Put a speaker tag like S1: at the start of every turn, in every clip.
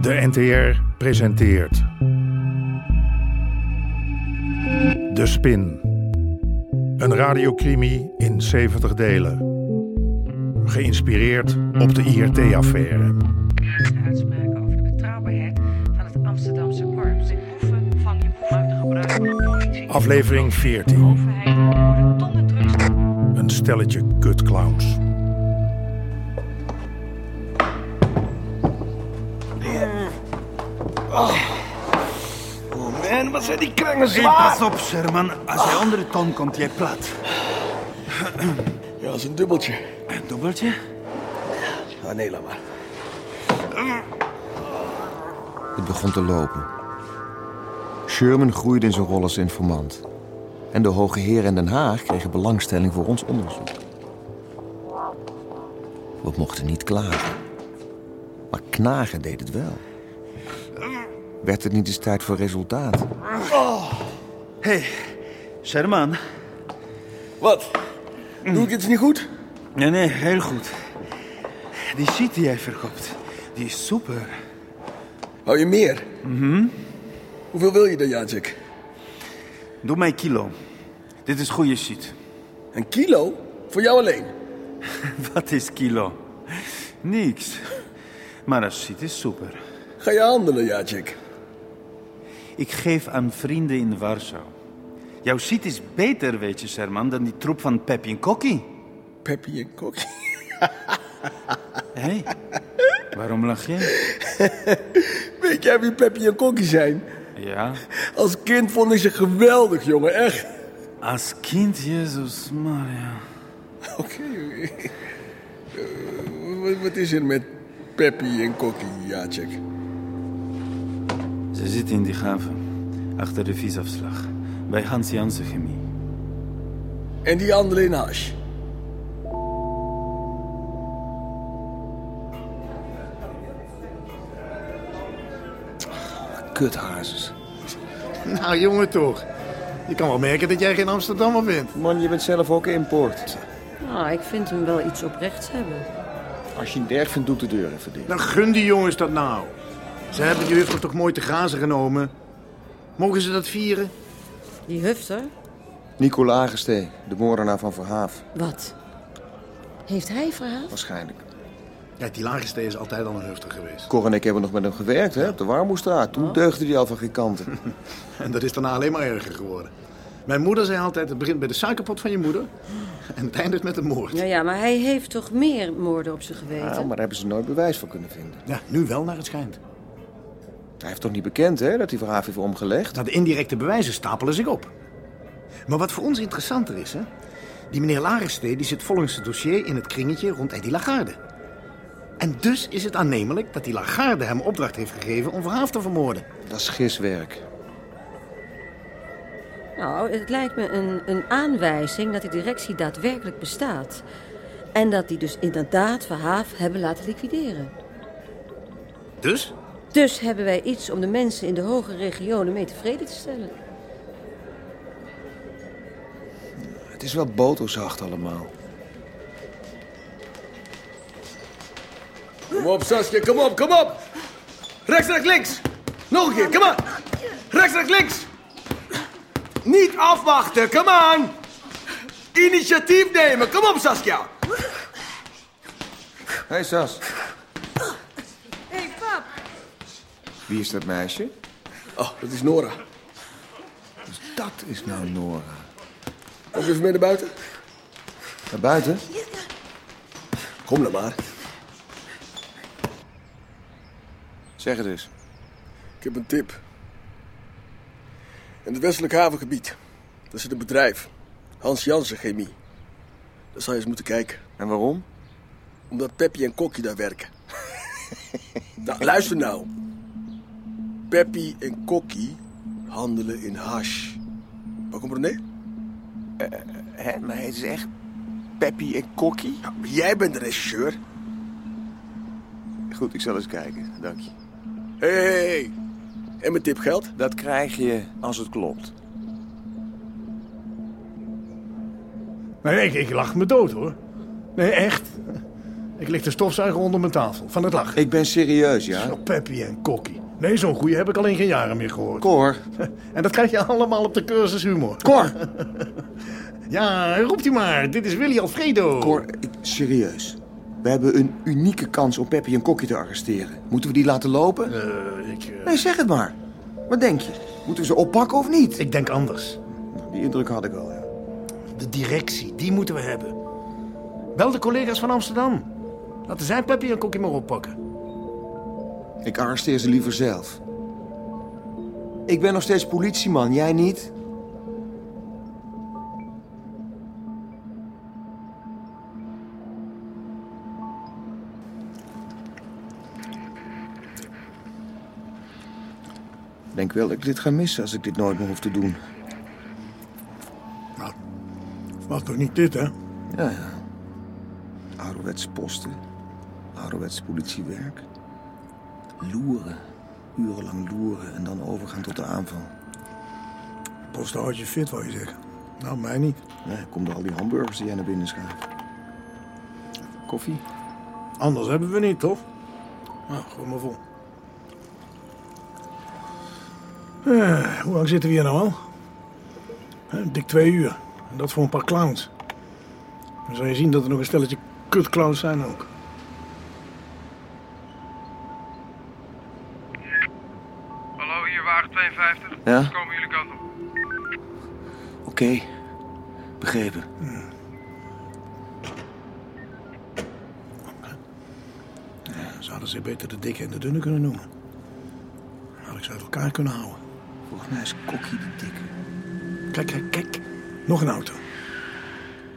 S1: De NTR presenteert. De Spin. Een radiocrimi in 70 delen. Geïnspireerd op de IRT-affaire.
S2: Graag uitspraken over de betrouwbaarheid van het Amsterdamse korps. De hoeven van je boeven te gebruiken van de politie.
S1: Aflevering 14.
S2: Overheid worden tonnen drugs.
S1: Een stelletje kutclowns.
S3: En wat zijn die krangen
S4: Hey, pas op, Sherman. Als jij onder de ton komt, jij plat.
S3: Ja, dat is een dubbeltje.
S4: Een dubbeltje?
S3: Ah, nee, laat maar.
S5: Het begon te lopen. Sherman groeide in zijn rol als informant. En de hoge heren in Den Haag kregen belangstelling voor ons onderzoek. We mochten niet klagen. Maar knagen deed het wel. Werd het niet eens tijd voor resultaat?
S4: Hé, hey, Sherman.
S3: Wat? Doe ik iets niet goed?
S4: Nee, nee, heel goed. Die shit die jij verkoopt, die is super.
S3: Hou je meer? Mhm. Hoeveel wil je dan, Jacek?
S4: Doe mij kilo. Dit is goede shit.
S3: Een kilo? Voor jou alleen?
S4: Wat is kilo? Niks. Maar dat shit is super.
S3: Ga je handelen, Jacek?
S4: Ik geef aan vrienden in Warschau. Jouw shit is beter, weet je, Sherman, dan die troep van Peppy en Kokkie.
S3: Peppy en Kokkie.
S4: Hé, waarom lach je?
S3: Weet jij wie Peppy en Kokkie zijn?
S4: Ja,
S3: Als kind vond ik ze geweldig, jongen, echt.
S4: als kind, Jezus Maria.
S3: Oké. eh, wat- wat is er met Peppy en Kokkie, Jacek?
S4: Ze zitten in die haven, achter de visafslag, bij Hans Jansen Chemie.
S3: En die andere in Haas.
S5: Kuthazes.
S6: Nou, jongen toch. Je kan wel merken dat jij geen Amsterdammer bent.
S5: Man, je bent zelf ook import.
S7: Nou, ik vind hem wel iets oprechts hebben.
S5: Als je het erg vindt, doe ik de deur even dicht.
S6: Dan gun die jongens dat nou. Ze hebben die huffel toch mooi te grazen genomen. Mogen ze dat vieren?
S7: Die hufter?
S5: Nicola Agestee, de moordenaar van Verhaaf,
S7: Wat? Heeft hij verhaal?
S5: waarschijnlijk.
S6: Kijk, die Lagerstee is altijd al een hufter geweest. Oh.
S5: Cor en ik hebben nog met hem gewerkt, hè, op de Warmoestraat. Toen deugde hij al van geen kanten.
S6: En dat is daarna alleen maar erger geworden. Mijn moeder zei altijd, het begint bij de suikerpot van je moeder... en het eindigt met een moord.
S7: Ja, ja, maar hij heeft toch meer moorden op zijn geweten?
S5: Ja, maar daar hebben ze nooit bewijs voor kunnen vinden.
S6: Ja, nu wel naar het schijnt.
S5: Hij heeft toch niet bekend, hè, dat hij Verhaaf heeft omgelegd?
S6: Nou, de indirecte bewijzen stapelen zich op. Maar wat voor ons interessanter is, hè? Die meneer Lagerstee die zit volgens het dossier in het kringetje rond Eddie Lagarde. En dus is het aannemelijk dat die Lagarde hem opdracht heeft gegeven om Verhaaf te vermoorden.
S5: Dat is giswerk.
S7: Nou, het lijkt me een, een aanwijzing dat die directie daadwerkelijk bestaat. En dat die dus inderdaad Verhaaf hebben laten liquideren.
S6: Dus?
S7: Dus hebben wij iets om de mensen in de hogere regionen mee tevreden te stellen.
S5: Het is wel boterzacht allemaal.
S3: Kom op, Saskia, kom op, kom op! Rechts, rechts, links! Nog een keer, kom aan! Rechts, rechts, links! Niet afwachten, kom aan! Initiatief nemen, kom op, Saskia!
S5: Hé, hey, Sas. Hé, pap. Wie is dat meisje?
S3: Oh, dat is Nora.
S5: Dat is nou Nora.
S3: Kom even mee naar buiten.
S5: Naar buiten?
S3: Kom dan maar.
S5: Zeg het eens.
S3: Ik heb een tip. In het westelijk havengebied, daar zit een bedrijf. Hans Jansen Chemie. Daar zou je eens moeten kijken.
S5: En waarom?
S3: Omdat Peppy en Kokkie daar werken. nou, luister nou. Peppy en Kokkie handelen in hash. Waar komt René?
S5: Hé, maar het is echt Peppy en Kokkie?
S3: Ja, maar Nou, jij bent de regisseur.
S5: Goed, ik zal eens kijken. Dank je.
S3: Hé, hey, En mijn tip geldt?
S5: Dat krijg je als het klopt.
S6: Nee, ik, ik lach me dood hoor. Nee, echt. Ik leg de stofzuiger onder mijn tafel, van het lachen.
S8: Ik ben serieus, ja.
S6: Zo Peppy en Kokkie. Nee, zo'n goeie heb ik al in geen jaren meer gehoord.
S8: Cor.
S6: En dat krijg je allemaal op de cursus humor.
S8: Cor.
S6: Ja, roept u maar. Dit is Willy Alfredo.
S8: Cor, ik, serieus. We hebben een unieke kans om Peppy en Kokkie te arresteren.
S5: Moeten we die laten lopen?
S6: Eh, ik, eh,
S8: Nee, zeg het maar. Wat denk je? Moeten we ze oppakken of niet?
S6: ik denk anders.
S8: Die indruk had ik al, ja.
S6: De directie, die moeten we hebben. Bel de collega's van Amsterdam. Laten zij Peppy en Kokkie maar oppakken.
S8: Ik arresteer ze liever zelf. Ik ben nog steeds politieman, jij niet? Ik denk wel dat ik dit ga missen als ik dit nooit meer hoef te doen.
S6: Maar toch niet dit, hè?
S8: Ja, ja. Ouderwets posten. Ouderwets politiewerk. Loeren. Urenlang loeren en dan overgaan tot de aanval.
S6: Posten houdt je fit, wou je zeggen. Nou, mij niet.
S8: Nee, kom door al die hamburgers die jij naar binnen schuift. Koffie?
S6: Anders hebben we niet, toch? Nou, gooi maar vol. Eh, hoe lang zitten we hier nou al? Hè, dik twee uur. En dat voor een paar clowns. Dan zal je zien dat er nog een stelletje kutclowns zijn ook.
S9: Hallo, hier wagen 52.
S8: Ja?
S9: Komen jullie kant op?
S8: Oké. Begrepen.
S6: Zouden ze beter de dikke en de dunne kunnen noemen? Had ik ze uit elkaar kunnen houden.
S8: Volgens mij is Kokkie de dikke.
S6: Kijk, kijk, kijk. Nog een auto.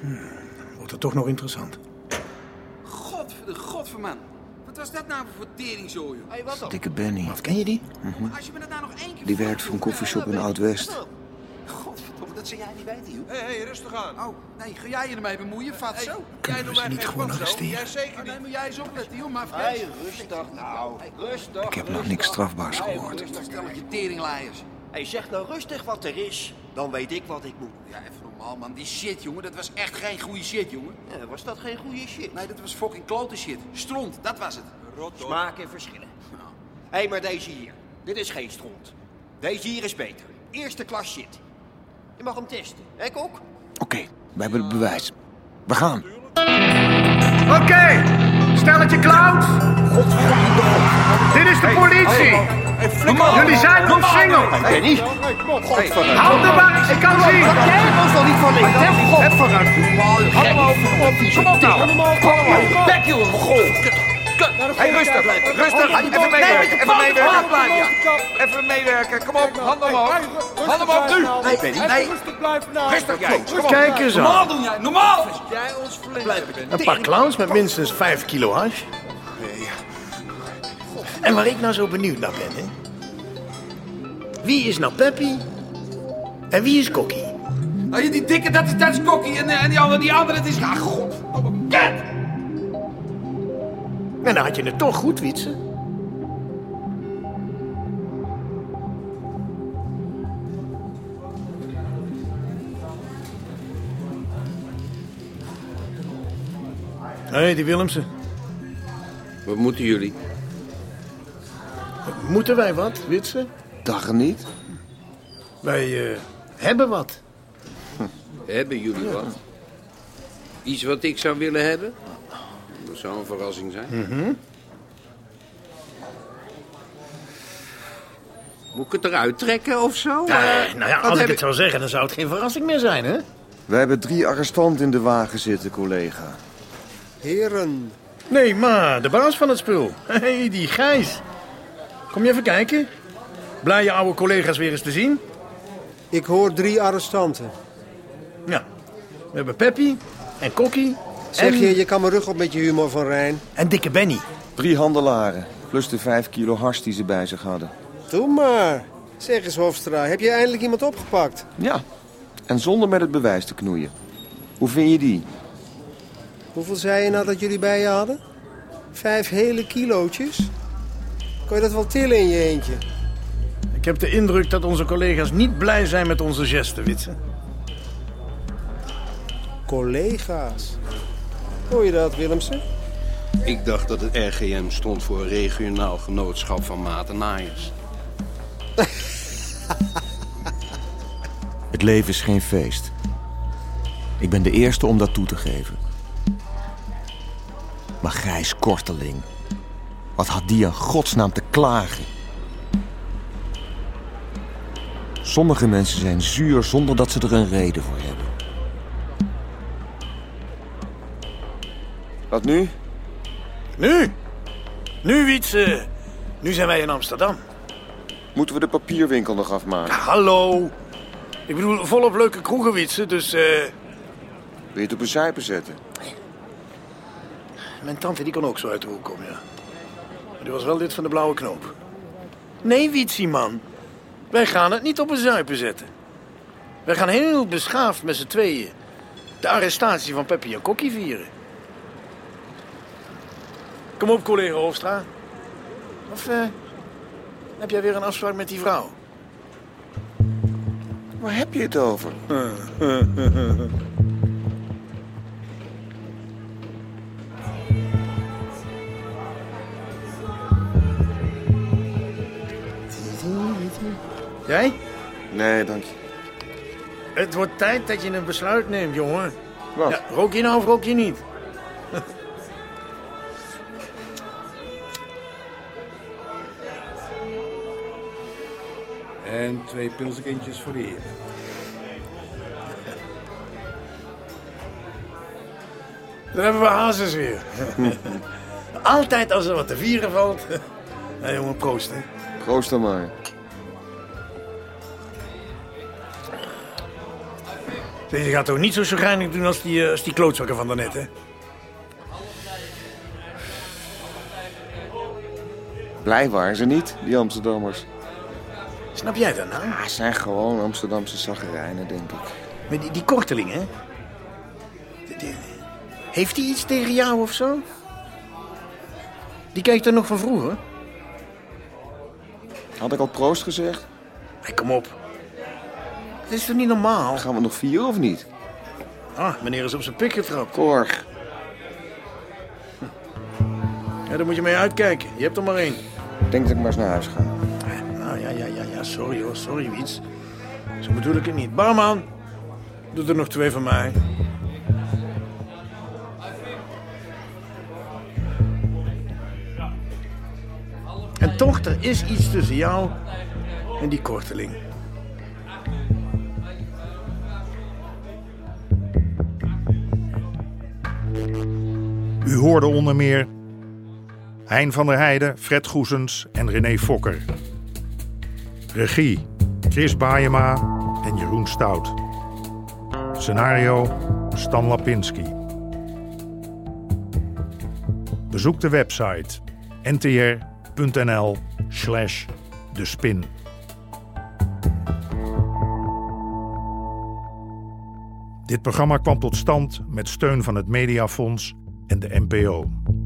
S6: Hmm, wordt het toch nog interessant.
S9: Godver, godverman. Wat was dat nou voor teringzooi? Hé, wat dan?
S8: Dikke Benny.
S6: Wat ken je die?
S9: Als je me dat nou nog één keer...
S8: Hm. Die werkt voor een
S9: eh,
S8: koffieshop in Oud-West.
S9: Godverdomme, dat zou jij niet weten, joh. Hé, hé, rustig aan. Oh, nee, ga jij je ermee bemoeien, vat zo.
S6: Kunnen we ze niet gewoon arresteren?
S9: zeker Nee, moet jij eens opletten, joh, maar... Hé, rustig nou. Rustig.
S8: Ik heb nog niks strafbaars gehoord.
S9: Rustig, stelletje teringleiers.
S10: Hij zegt nou rustig wat er is, dan weet ik wat ik moet.
S9: Ja, even normaal, man. Die shit, jongen. Dat was echt geen goede shit, jongen.
S10: Ja, was dat geen goede shit?
S9: Nee, dat was fucking klote shit. Stront, dat was het. Rot,
S10: Smaak en verschillen. Hé, maar deze hier, dit is geen stront. Deze hier is beter. Eerste klas shit. Je mag hem testen, hè kok?
S5: Oké, we hebben het bewijs. We gaan.
S3: Oké, stelletje clowns. Dit is de politie. Jullie zijn omsingeld.
S10: Hey, Benny.
S3: Houd de bak, ik kan zien.
S10: was dan niet van ik.
S3: Heb vooruit.
S10: Kom op nou. Kom op. Bek jongen, goh.
S9: Hey, rustig, rustig. Even meewerken, even meewerken. Even meewerken, kom op, handen omhoog. Handen omhoog nu.
S10: Nee, Benny, nee.
S9: Rustig jij.
S6: Kijk eens aan.
S9: Normaal doen jij, normaal. Jij ons verleden.
S6: Een paar clowns met minstens 5 kilo hash. En waar ik nou zo benieuwd naar ben, hè? Wie is nou Peppy? En wie is Kokkie?
S9: Nou, die dikke, dat is, dat is Kokkie. En, eh, en die andere, die andere, dat is... Ja, god. Ket!
S6: En dan had je het toch goed, Wietse. Hé, die Willemsen.
S11: Wat moeten jullie?
S6: Moeten wij wat, Witsen?
S8: Dag en niet?
S6: Wij eh, hebben wat.
S11: Hebben jullie wat? Iets wat ik zou willen hebben? Dat zou een verrassing zijn. Moet ik het eruit trekken of zo? Eh,
S6: nou ja,
S11: wat
S6: als ik
S11: heb
S6: het zou zeggen, dan zou het geen verrassing meer zijn, hè?
S8: Wij hebben drie arrestanten in de wagen zitten, collega.
S11: Heren,
S6: Nee, maar de baas van het spul. Hé, hey, die Gijs. Kom je even kijken? Blij je oude collega's weer eens te zien.
S11: ik hoor drie arrestanten.
S6: Ja. We hebben Peppy en Kokkie.
S11: Zeg
S6: en,
S11: je, je kan mijn rug op met je humor van Rijn.
S6: en dikke Benny.
S8: Drie handelaren, plus de vijf kilo hars die ze bij zich hadden.
S11: Doe maar. Zeg eens, Hofstra, heb je eindelijk iemand opgepakt?
S8: Ja, en zonder met het bewijs te knoeien. Hoe vind je die?
S11: Hoeveel zei je nou dat jullie bij je hadden? Vijf hele kilootjes? Kon je dat wel tillen in je eentje?
S6: Ik heb de indruk dat onze collega's niet blij zijn met onze gesten, Witse.
S11: Collega's. Hoor je dat, Willemsen?
S12: Ik dacht dat het RGM stond voor Regionaal Genootschap van Matenaaiers.
S5: Het leven is geen feest. Ik ben de eerste om dat toe te geven. Maar Gijs Korteling, wat had die aan godsnaam te klagen? Sommige mensen zijn zuur zonder dat ze er een reden voor hebben.
S8: Wat nu?
S6: Nu? Nu, Wietse. Nu zijn wij in Amsterdam.
S8: Moeten we de papierwinkel nog afmaken?
S6: Hallo. Ik bedoel, volop leuke kroegen, Wietse, dus... eh,
S8: Wil je het op een zuipen zetten?
S6: Mijn tante die kon ook zo uit de hoek komen, ja. Maar die was wel lid van de blauwe knoop. Nee, Wietsie, man. Wij gaan het niet op een zuipen zetten. Wij gaan heel beschaafd met z'n tweeën... de arrestatie van Peppi en Kokkie vieren. Kom op, collega Hofstra. Of eh, heb jij weer een afspraak met die vrouw?
S8: Waar heb je het over?
S6: Jij?
S8: Nee, dank je.
S6: Het wordt tijd dat je een besluit neemt, jongen. Wat? Ja, rook je nou of rook je niet?
S12: En twee pilsekindjes voor de heer.
S6: Dan hebben we hazes weer. Altijd als er wat te vieren valt. Nou jongen, proost hè.
S8: Proost dan maar.
S6: Zeg, Je gaat toch niet zo chagrijnig doen als die, eh, als die klootzakken van daarnet hè?
S8: Blij waren ze niet, die Amsterdammers.
S6: Snap jij dat nou?
S8: Ah, zijn gewoon Amsterdamse zaggerijnen, denk ik.
S6: Maar die, die korteling hè? Die- die- Heeft hij iets tegen jou of zo? Die kijkt er nog van vroeger.
S8: Had ik al proost gezegd?
S6: Hey, kom op. Dat is toch niet normaal?
S8: Gaan we nog vier of niet?
S6: Ah, meneer is op zijn pik getrapt.
S8: Korg.
S6: Ja, daar moet je mee uitkijken. Je hebt er maar één.
S8: Ik denk dat ik maar eens naar huis ga.
S6: Nou ja, ja, ja, ja, sorry hoor, sorry Wiets. Zo bedoel ik het niet. Barman, doe er nog twee van mij. En toch, er is iets tussen jou en die korteling.
S1: U hoorde onder meer Hein van der Heijden, Fred Goesens en René Fokker. Regie Chris Baayema en Jeroen Stout. Scenario Stan Lapinski. Bezoek de website ntr.nl slash de spin. Dit programma kwam tot stand met steun van het Mediafonds en de NPO.